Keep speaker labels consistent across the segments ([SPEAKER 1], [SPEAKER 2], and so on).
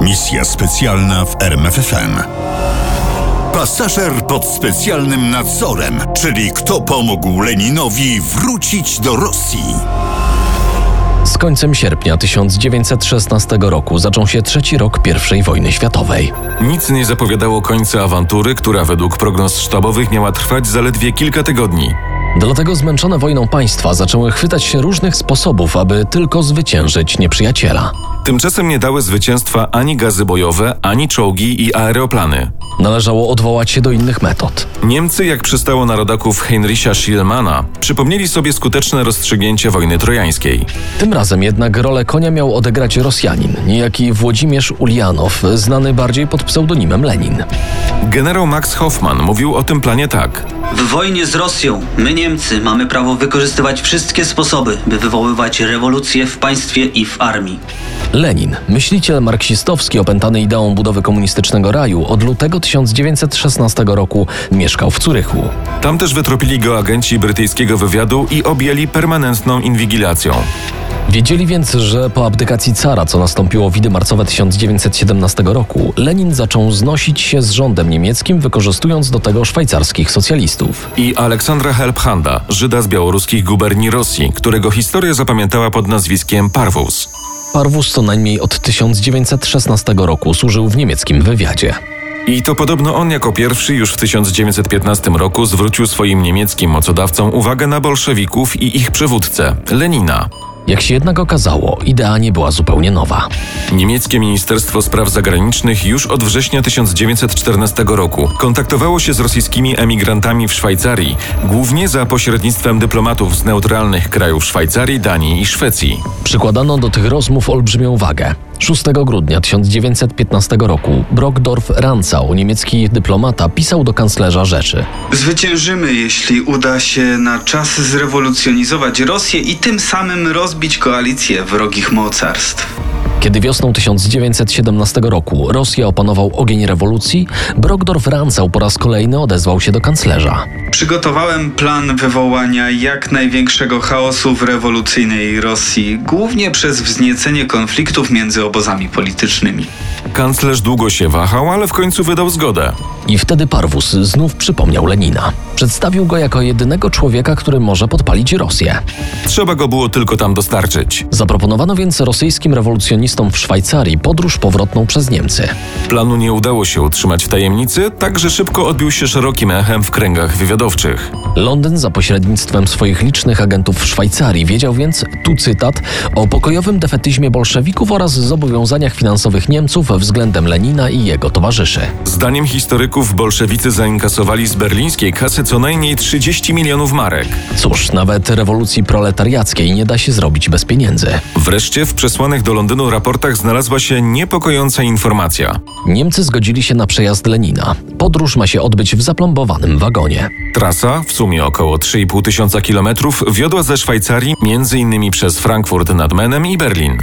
[SPEAKER 1] Misja specjalna w RMFFM. Pasażer pod specjalnym nadzorem, czyli kto pomógł Leninowi wrócić do Rosji.
[SPEAKER 2] Z końcem sierpnia 1916 roku zaczął się trzeci rok I wojny światowej.
[SPEAKER 3] Nic nie zapowiadało końca awantury, która według prognoz sztabowych miała trwać zaledwie kilka tygodni.
[SPEAKER 2] Dlatego zmęczone wojną państwa zaczęły chwytać się różnych sposobów, aby tylko zwyciężyć nieprzyjaciela.
[SPEAKER 3] Tymczasem nie dały zwycięstwa ani gazy bojowe, ani czołgi i aeroplany.
[SPEAKER 2] Należało odwołać się do innych metod.
[SPEAKER 3] Niemcy, jak przystało na rodaków Heinricha Schielmana, przypomnieli sobie skuteczne rozstrzygnięcie wojny trojańskiej.
[SPEAKER 2] Tym razem jednak rolę konia miał odegrać Rosjanin, niejaki Włodzimierz Ulianow, znany bardziej pod pseudonimem Lenin.
[SPEAKER 3] Generał Max Hoffman mówił o tym planie tak.
[SPEAKER 4] W wojnie z Rosją my Niemcy mamy prawo wykorzystywać wszystkie sposoby, by wywoływać rewolucję w państwie i w armii.
[SPEAKER 2] Lenin, myśliciel marksistowski opętany ideą budowy komunistycznego raju, od lutego 1916 roku mieszkał w Curychu.
[SPEAKER 3] Tam też wytropili go agenci brytyjskiego wywiadu i objęli permanentną inwigilacją.
[SPEAKER 2] Wiedzieli więc, że po abdykacji cara, co nastąpiło widy marcowe 1917 roku, Lenin zaczął znosić się z rządem niemieckim, wykorzystując do tego szwajcarskich socjalistów.
[SPEAKER 3] I Aleksandra Helphanda, Żyda z białoruskich guberni Rosji, którego historia zapamiętała pod nazwiskiem Parvus.
[SPEAKER 2] Parwus co najmniej od 1916 roku służył w niemieckim wywiadzie.
[SPEAKER 3] I to podobno on jako pierwszy już w 1915 roku zwrócił swoim niemieckim mocodawcom uwagę na bolszewików i ich przywódcę, Lenina.
[SPEAKER 2] Jak się jednak okazało, idea nie była zupełnie nowa.
[SPEAKER 3] Niemieckie Ministerstwo Spraw Zagranicznych już od września 1914 roku kontaktowało się z rosyjskimi emigrantami w Szwajcarii, głównie za pośrednictwem dyplomatów z neutralnych krajów Szwajcarii, Danii i Szwecji.
[SPEAKER 2] Przykładano do tych rozmów olbrzymią wagę. 6 grudnia 1915 roku Brockdorf Rantzau, niemiecki dyplomata, pisał do kanclerza Rzeszy.
[SPEAKER 5] Zwyciężymy, jeśli uda się na czas zrewolucjonizować Rosję i tym samym rozbić koalicję wrogich mocarstw.
[SPEAKER 2] Kiedy wiosną 1917 roku Rosję opanował ogień rewolucji, Brockdorf Rantzau po raz kolejny odezwał się do kanclerza.
[SPEAKER 5] Przygotowałem plan wywołania jak największego chaosu w rewolucyjnej Rosji, głównie przez wzniecenie konfliktów między obozami politycznymi.
[SPEAKER 3] Kanclerz długo się wahał, ale w końcu wydał zgodę.
[SPEAKER 2] I wtedy Parwus znów przypomniał Lenina. Przedstawił go jako jedynego człowieka, który może podpalić Rosję.
[SPEAKER 3] Trzeba go było tylko tam dostarczyć.
[SPEAKER 2] Zaproponowano więc rosyjskim rewolucjonistom w Szwajcarii podróż powrotną przez Niemcy.
[SPEAKER 3] Planu nie udało się utrzymać w tajemnicy, także szybko odbił się szerokim echem w kręgach wywiadowczych.
[SPEAKER 2] Londyn za pośrednictwem swoich licznych agentów w Szwajcarii wiedział więc, tu cytat, o pokojowym defetyzmie bolszewików oraz zobowiązaniach finansowych Niemców względem Lenina i jego towarzyszy.
[SPEAKER 3] Zdaniem historyków bolszewicy zainkasowali z berlińskiej kasy co najmniej 30 milionów marek.
[SPEAKER 2] Cóż, nawet rewolucji proletariackiej nie da się zrobić bez pieniędzy.
[SPEAKER 3] Wreszcie w przesłanych do Londynu raportach znalazła się niepokojąca informacja.
[SPEAKER 2] Niemcy zgodzili się na przejazd Lenina. Podróż ma się odbyć w zaplombowanym wagonie.
[SPEAKER 3] Trasa, w sumie około 3,5 tysiąca kilometrów, wiodła ze Szwajcarii m.in. przez Frankfurt nad Menem i Berlin.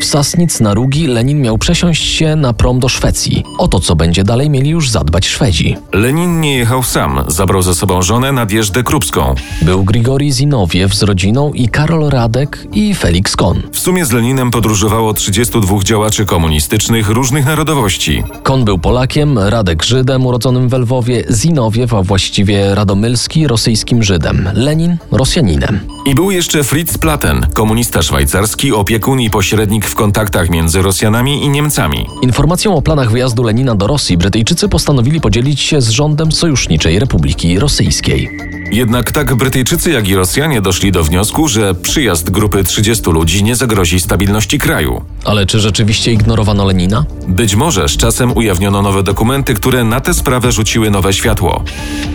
[SPEAKER 2] W Sasnic na Rugi Lenin miał przesiąść się na prom do Szwecji. O to, co będzie dalej, mieli już zadbać Szwedzi.
[SPEAKER 3] Lenin nie jechał sam, zabrał ze sobą żonę Nadjeżdę Krupską.
[SPEAKER 2] Był Grigori Zinowiew z rodziną i Karol Radek i Felix Kohn.
[SPEAKER 3] W sumie z Leninem podróżowało 32 działaczy komunistycznych różnych narodowości.
[SPEAKER 2] Kon był Polakiem, Radek Żydem urodzonym we Lwowie, Zinowiew, a właściwie Radomylski rosyjskim Żydem, Lenin Rosjaninem.
[SPEAKER 3] I był jeszcze Fritz Platen, komunista szwajcarski, opiekun i pośrednik w kontaktach między Rosjanami i Niemcami.
[SPEAKER 2] Informacją o planach wyjazdu Lenina do Rosji Brytyjczycy postanowili podzielić się z rządem Sojuszniczej Republiki Rosyjskiej.
[SPEAKER 3] Jednak tak Brytyjczycy, jak i Rosjanie doszli do wniosku, że przyjazd grupy 30 ludzi nie zagrozi stabilności kraju.
[SPEAKER 2] Ale czy rzeczywiście ignorowano Lenina?
[SPEAKER 3] Być może z czasem ujawniono nowe dokumenty, które na tę sprawę rzuciły nowe światło.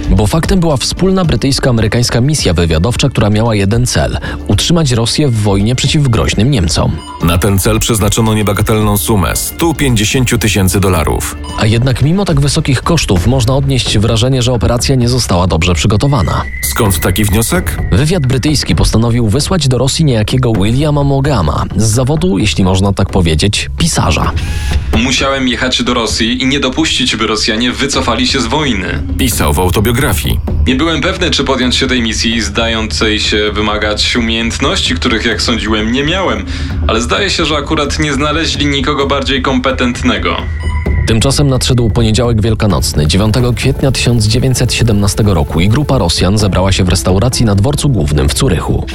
[SPEAKER 2] Bo faktem była wspólna brytyjsko-amerykańska misja wywiadowcza, która miała jeden cel utrzymać Rosję w wojnie przeciw groźnym Niemcom.
[SPEAKER 3] Na ten cel przeznaczono niebagatelną sumę 150 000 tysięcy dolarów.
[SPEAKER 2] A jednak mimo tak wysokich kosztów można odnieść wrażenie, że operacja nie została dobrze przygotowana.
[SPEAKER 3] Skąd taki wniosek?
[SPEAKER 2] Wywiad brytyjski postanowił wysłać do Rosji niejakiego Williama Mogama, z zawodu, jeśli można tak powiedzieć, pisarza.
[SPEAKER 6] Musiałem jechać do Rosji i nie dopuścić, by Rosjanie wycofali się z wojny.
[SPEAKER 3] Pisał w autobiografii.
[SPEAKER 6] Nie byłem pewny, czy podjąć się tej misji, zdającej się wymagać umiejętności, których, jak sądziłem, nie miałem, ale zdaje się, że akurat nie znaleźli nikogo bardziej kompetentnego.
[SPEAKER 2] Tymczasem nadszedł poniedziałek wielkanocny, 9 kwietnia 1917 roku i grupa Rosjan zebrała się w restauracji na dworcu głównym w Curychu.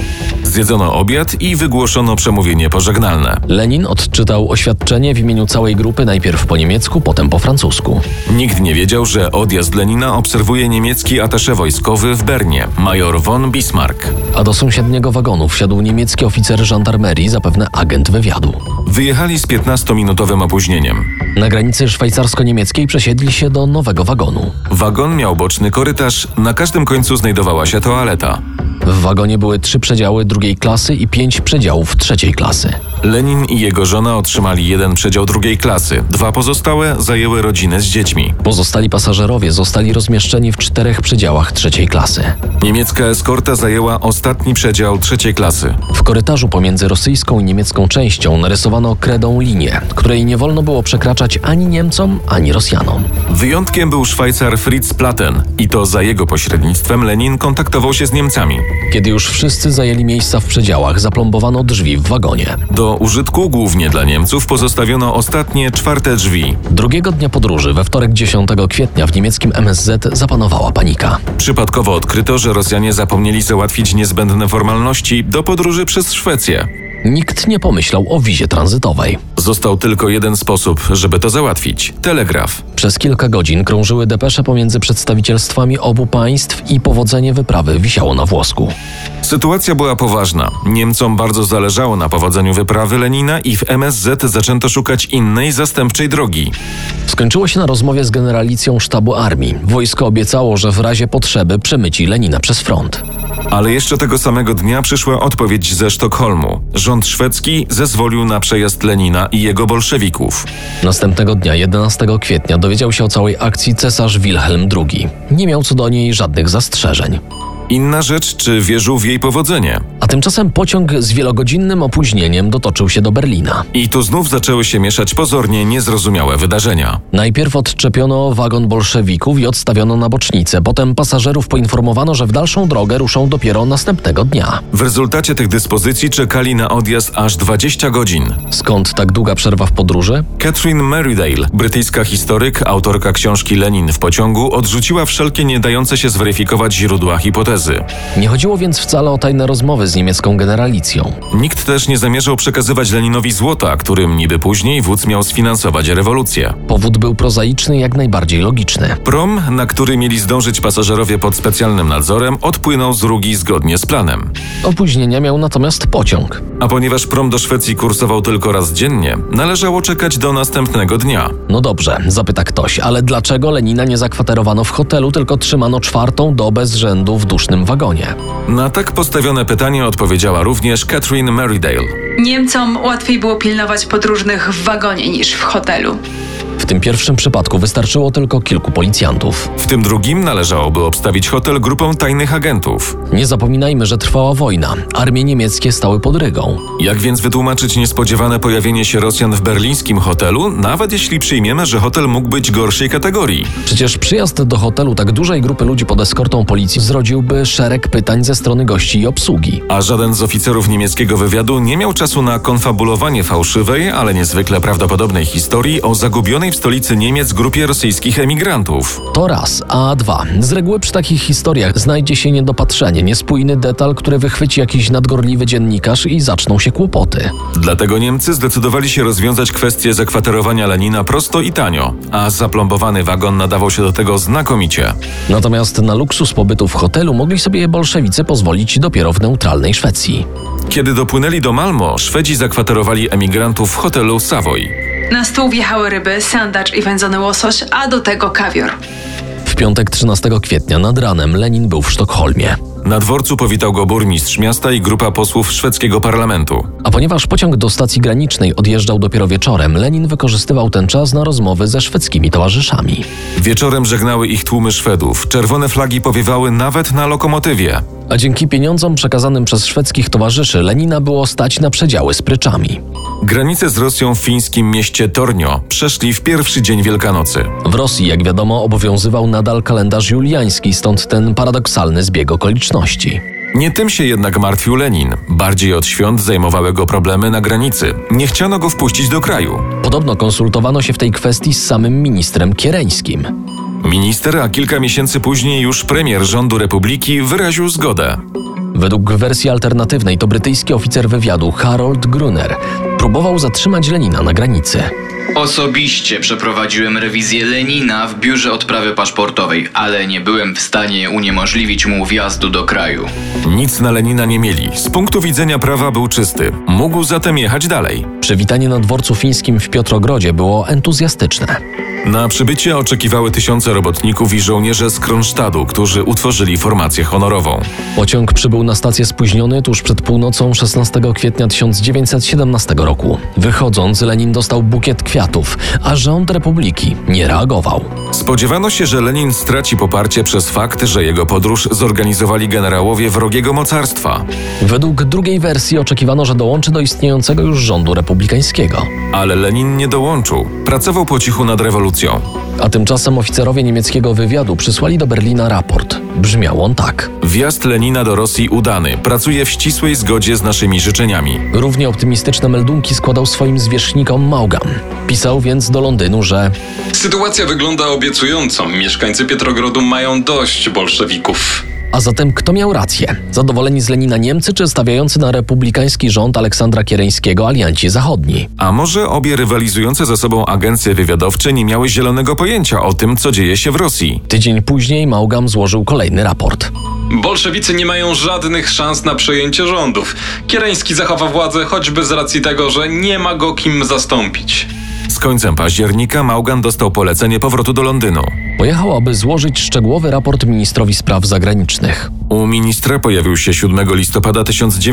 [SPEAKER 3] Zjedzono obiad i wygłoszono przemówienie pożegnalne.
[SPEAKER 2] Lenin odczytał oświadczenie w imieniu całej grupy najpierw po niemiecku, potem po francusku.
[SPEAKER 3] Nikt nie wiedział, że odjazd Lenina obserwuje niemiecki atasze wojskowy w Bernie, major von Bismarck.
[SPEAKER 2] A do sąsiedniego wagonu wsiadł niemiecki oficer żandarmerii, zapewne agent wywiadu.
[SPEAKER 3] Wyjechali z 15-minutowym opóźnieniem.
[SPEAKER 2] Na granicy szwajcarsko-niemieckiej przesiedli się do nowego wagonu.
[SPEAKER 3] Wagon miał boczny korytarz, na każdym końcu znajdowała się toaleta.
[SPEAKER 2] W wagonie były trzy przedziały drugiej klasy i pięć przedziałów trzeciej klasy.
[SPEAKER 3] Lenin i jego żona otrzymali jeden przedział drugiej klasy, dwa pozostałe zajęły rodziny z dziećmi.
[SPEAKER 2] Pozostali pasażerowie zostali rozmieszczeni w czterech przedziałach trzeciej klasy.
[SPEAKER 3] Niemiecka eskorta zajęła ostatni przedział trzeciej klasy.
[SPEAKER 2] W korytarzu pomiędzy rosyjską i niemiecką częścią narysowano kredą linię, której nie wolno było przekraczać ani Niemcom, ani Rosjanom.
[SPEAKER 3] Wyjątkiem był Szwajcar Fritz Platen i to za jego pośrednictwem Lenin kontaktował się z Niemcami.
[SPEAKER 2] Kiedy już wszyscy zajęli miejsca w przedziałach, zaplombowano drzwi w wagonie.
[SPEAKER 3] Do użytku głównie dla Niemców pozostawiono ostatnie czwarte drzwi.
[SPEAKER 2] Drugiego dnia podróży, we wtorek 10 kwietnia, w niemieckim MSZ zapanowała panika.
[SPEAKER 3] Przypadkowo odkryto, że Rosjanie zapomnieli załatwić niezbędne formalności do podróży przez Szwecję.
[SPEAKER 2] Nikt nie pomyślał o wizie tranzytowej.
[SPEAKER 3] Został tylko jeden sposób, żeby to załatwić telegraf.
[SPEAKER 2] Przez kilka godzin krążyły depesze pomiędzy przedstawicielstwami obu państw i powodzenie wyprawy wisiało na włosku.
[SPEAKER 3] Sytuacja była poważna. Niemcom bardzo zależało na powodzeniu wyprawy Lenina i w MSZ zaczęto szukać innej, zastępczej drogi.
[SPEAKER 2] Skończyło się na rozmowie z generalicją sztabu armii. Wojsko obiecało, że w razie potrzeby przemyci Lenina przez front.
[SPEAKER 3] Ale jeszcze tego samego dnia przyszła odpowiedź ze Sztokholmu. Rząd szwedzki zezwolił na przejazd Lenina i jego bolszewików.
[SPEAKER 2] Następnego dnia, 11 kwietnia, dowiedział się o całej akcji cesarz Wilhelm II. Nie miał co do niej żadnych zastrzeżeń.
[SPEAKER 3] Inna rzecz, czy wierzył w jej powodzenie.
[SPEAKER 2] A tymczasem pociąg z wielogodzinnym opóźnieniem dotoczył się do Berlina.
[SPEAKER 3] I tu znów zaczęły się mieszać pozornie niezrozumiałe wydarzenia.
[SPEAKER 2] Najpierw odczepiono wagon bolszewików i odstawiono na bocznicę. Potem pasażerów poinformowano, że w dalszą drogę ruszą dopiero następnego dnia.
[SPEAKER 3] W rezultacie tych dyspozycji czekali na odjazd aż 20 godzin.
[SPEAKER 2] Skąd tak długa przerwa w podróży?
[SPEAKER 3] Catherine Merridale, brytyjska historyk, autorka książki Lenin w pociągu, odrzuciła wszelkie nie dające się zweryfikować źródła hipotezy.
[SPEAKER 2] Nie chodziło więc wcale o tajne rozmowy z niemiecką generalicją.
[SPEAKER 3] Nikt też nie zamierzał przekazywać Leninowi złota, którym niby później wódz miał sfinansować rewolucję.
[SPEAKER 2] Powód był prozaiczny, jak najbardziej logiczny.
[SPEAKER 3] Prom, na który mieli zdążyć pasażerowie pod specjalnym nadzorem, odpłynął z Rugi zgodnie z planem.
[SPEAKER 2] Opóźnienia miał natomiast pociąg.
[SPEAKER 3] A ponieważ prom do Szwecji kursował tylko raz dziennie, należało czekać do następnego dnia.
[SPEAKER 2] No dobrze, zapyta ktoś, ale dlaczego Lenina nie zakwaterowano w hotelu, tylko trzymano czwartą dobę z rzędu w dusznym wagonie?
[SPEAKER 3] Na tak postawione pytanie odpowiedziała również Catherine Merridale.
[SPEAKER 7] Niemcom łatwiej było pilnować podróżnych w wagonie niż w hotelu.
[SPEAKER 2] W tym pierwszym przypadku wystarczyło tylko kilku policjantów.
[SPEAKER 3] W tym drugim należałoby obstawić hotel grupą tajnych agentów.
[SPEAKER 2] Nie zapominajmy, że trwała wojna. Armie niemieckie stały pod rygą.
[SPEAKER 3] Jak więc wytłumaczyć niespodziewane pojawienie się Rosjan w berlińskim hotelu, nawet jeśli przyjmiemy, że hotel mógł być gorszej kategorii?
[SPEAKER 2] Przecież przyjazd do hotelu tak dużej grupy ludzi pod eskortą policji zrodziłby szereg pytań ze strony gości i obsługi.
[SPEAKER 3] A żaden z oficerów niemieckiego wywiadu nie miał czasu na konfabulowanie fałszywej, ale niezwykle prawdopodobnej historii o zagubionej w stolicy Niemiec grupie rosyjskich emigrantów.
[SPEAKER 2] To raz, a dwa. Z reguły przy takich historiach znajdzie się niedopatrzenie, niespójny detal, który wychwyci jakiś nadgorliwy dziennikarz i zaczną się kłopoty.
[SPEAKER 3] Dlatego Niemcy zdecydowali się rozwiązać kwestię zakwaterowania Lenina prosto i tanio, a zaplombowany wagon nadawał się do tego znakomicie.
[SPEAKER 2] Natomiast na luksus pobytu w hotelu mogli sobie bolszewicy pozwolić dopiero w neutralnej Szwecji.
[SPEAKER 3] Kiedy dopłynęli do Malmo, Szwedzi zakwaterowali emigrantów w hotelu Savoy.
[SPEAKER 7] Na stół wjechały ryby, sandacz i wędzony łosoś, a do tego kawior.
[SPEAKER 2] W piątek 13 kwietnia nad ranem Lenin był w Sztokholmie.
[SPEAKER 3] Na dworcu powitał go burmistrz miasta i grupa posłów szwedzkiego parlamentu.
[SPEAKER 2] A ponieważ pociąg do stacji granicznej odjeżdżał dopiero wieczorem, Lenin wykorzystywał ten czas na rozmowy ze szwedzkimi towarzyszami.
[SPEAKER 3] Wieczorem żegnały ich tłumy Szwedów. Czerwone flagi powiewały nawet na lokomotywie.
[SPEAKER 2] A dzięki pieniądzom przekazanym przez szwedzkich towarzyszy Lenina było stać na przedziały z pryczami.
[SPEAKER 3] Granicę z Rosją w fińskim mieście Tornio przeszli w pierwszy dzień Wielkanocy.
[SPEAKER 2] W Rosji, jak wiadomo, obowiązywał nadal kalendarz juliański, stąd ten paradoksalny zbieg okoliczności.
[SPEAKER 3] Nie tym się jednak martwił Lenin. Bardziej od świąt zajmowały go problemy na granicy. Nie chciano go wpuścić do kraju.
[SPEAKER 2] Podobno konsultowano się w tej kwestii z samym ministrem Kiereńskim.
[SPEAKER 3] Minister, a kilka miesięcy później już premier rządu republiki wyraził zgodę.
[SPEAKER 2] Według wersji alternatywnej to brytyjski oficer wywiadu Harold Gruner próbował zatrzymać Lenina na granicy.
[SPEAKER 8] Osobiście przeprowadziłem rewizję Lenina w biurze odprawy paszportowej, ale nie byłem w stanie uniemożliwić mu wjazdu do kraju.
[SPEAKER 3] Nic na Lenina nie mieli. Z punktu widzenia prawa był czysty. Mógł zatem jechać dalej.
[SPEAKER 2] Przywitanie na dworcu fińskim w Piotrogrodzie było entuzjastyczne.
[SPEAKER 3] Na przybycie oczekiwały tysiące robotników i żołnierze z Kronsztadu, którzy utworzyli formację honorową.
[SPEAKER 2] Pociąg przybył na stację spóźniony tuż przed północą 16 kwietnia 1917 roku. Wychodząc, Lenin dostał bukiet kwiatów, a rząd republiki nie reagował.
[SPEAKER 3] Spodziewano się, że Lenin straci poparcie przez fakt, że jego podróż zorganizowali generałowie wrogiego mocarstwa.
[SPEAKER 2] Według drugiej wersji oczekiwano, że dołączy do istniejącego już rządu republikańskiego.
[SPEAKER 3] Ale Lenin nie dołączył. Pracował po cichu nad rewolucją.
[SPEAKER 2] A tymczasem oficerowie niemieckiego wywiadu przysłali do Berlina raport. Brzmiał on tak.
[SPEAKER 3] Wjazd Lenina do Rosji udany. Pracuje w ścisłej zgodzie z naszymi życzeniami.
[SPEAKER 2] Równie optymistyczne meldunki składał swoim zwierzchnikom Maugham. Pisał więc do Londynu, że
[SPEAKER 6] Sytuacja wygląda obiecująco. Mieszkańcy Pietrogrodu mają dość bolszewików.
[SPEAKER 2] A zatem kto miał rację? Zadowoleni z Lenina Niemcy czy stawiający na republikański rząd Aleksandra Kiereńskiego alianci zachodni?
[SPEAKER 3] A może obie rywalizujące ze sobą agencje wywiadowcze nie miały zielonego pojęcia o tym, co dzieje się w Rosji?
[SPEAKER 2] Tydzień później Maugham złożył kolejny raport.
[SPEAKER 6] Bolszewicy nie mają żadnych szans na przejęcie rządów. Kiereński zachowa władzę choćby z racji tego, że nie ma go kim zastąpić.
[SPEAKER 3] Z końcem października Maugan dostał polecenie powrotu do Londynu.
[SPEAKER 2] Pojechał, aby złożyć szczegółowy raport ministrowi spraw zagranicznych.
[SPEAKER 3] U ministra pojawił się 7 listopada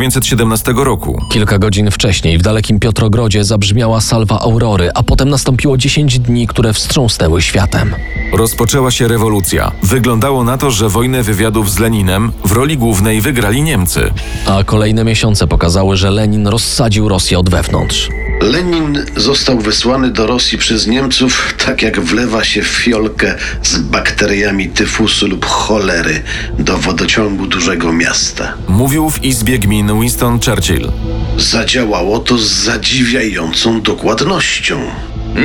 [SPEAKER 3] 1917 roku.
[SPEAKER 2] Kilka godzin wcześniej w dalekim Piotrogrodzie zabrzmiała salwa aurory, a potem nastąpiło 10 dni, które wstrząsnęły światem.
[SPEAKER 3] Rozpoczęła się rewolucja. Wyglądało na to, że wojnę wywiadów z Leninem w roli głównej wygrali Niemcy.
[SPEAKER 2] A kolejne miesiące pokazały, że Lenin rozsadził Rosję od wewnątrz.
[SPEAKER 9] Lenin został wysłany do Rosji przez Niemców, tak jak wlewa się fiolkę z bakteriami tyfusu lub cholery do wodociągu dużego miasta.
[SPEAKER 3] Mówił w Izbie Gmin Winston Churchill.
[SPEAKER 9] Zadziałało to z zadziwiającą dokładnością.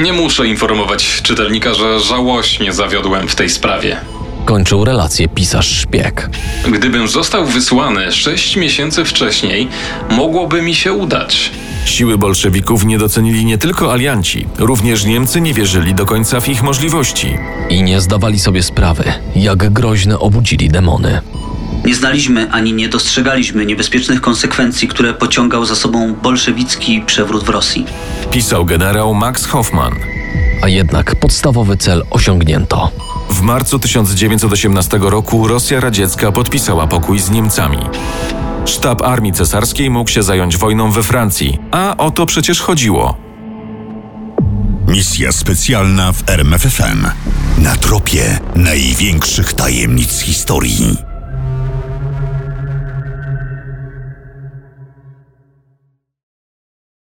[SPEAKER 6] Nie muszę informować czytelnika, że żałośnie zawiodłem w tej sprawie.
[SPEAKER 2] Kończył relację pisarz szpieg.
[SPEAKER 6] Gdybym został wysłany sześć miesięcy wcześniej, mogłoby mi się udać.
[SPEAKER 3] Siły bolszewików nie docenili nie tylko alianci, również Niemcy nie wierzyli do końca w ich możliwości.
[SPEAKER 2] I nie zdawali sobie sprawy, jak groźne obudzili demony.
[SPEAKER 4] Nie znaliśmy ani nie dostrzegaliśmy niebezpiecznych konsekwencji, które pociągał za sobą bolszewicki przewrót w Rosji.
[SPEAKER 3] Pisał generał Max Hoffman.
[SPEAKER 2] A jednak podstawowy cel osiągnięto.
[SPEAKER 3] W marcu 1918 roku Rosja radziecka podpisała pokój z Niemcami. Sztab Armii Cesarskiej mógł się zająć wojną we Francji, a o to przecież chodziło.
[SPEAKER 1] Misja specjalna w RMFFM. Na tropie największych tajemnic historii.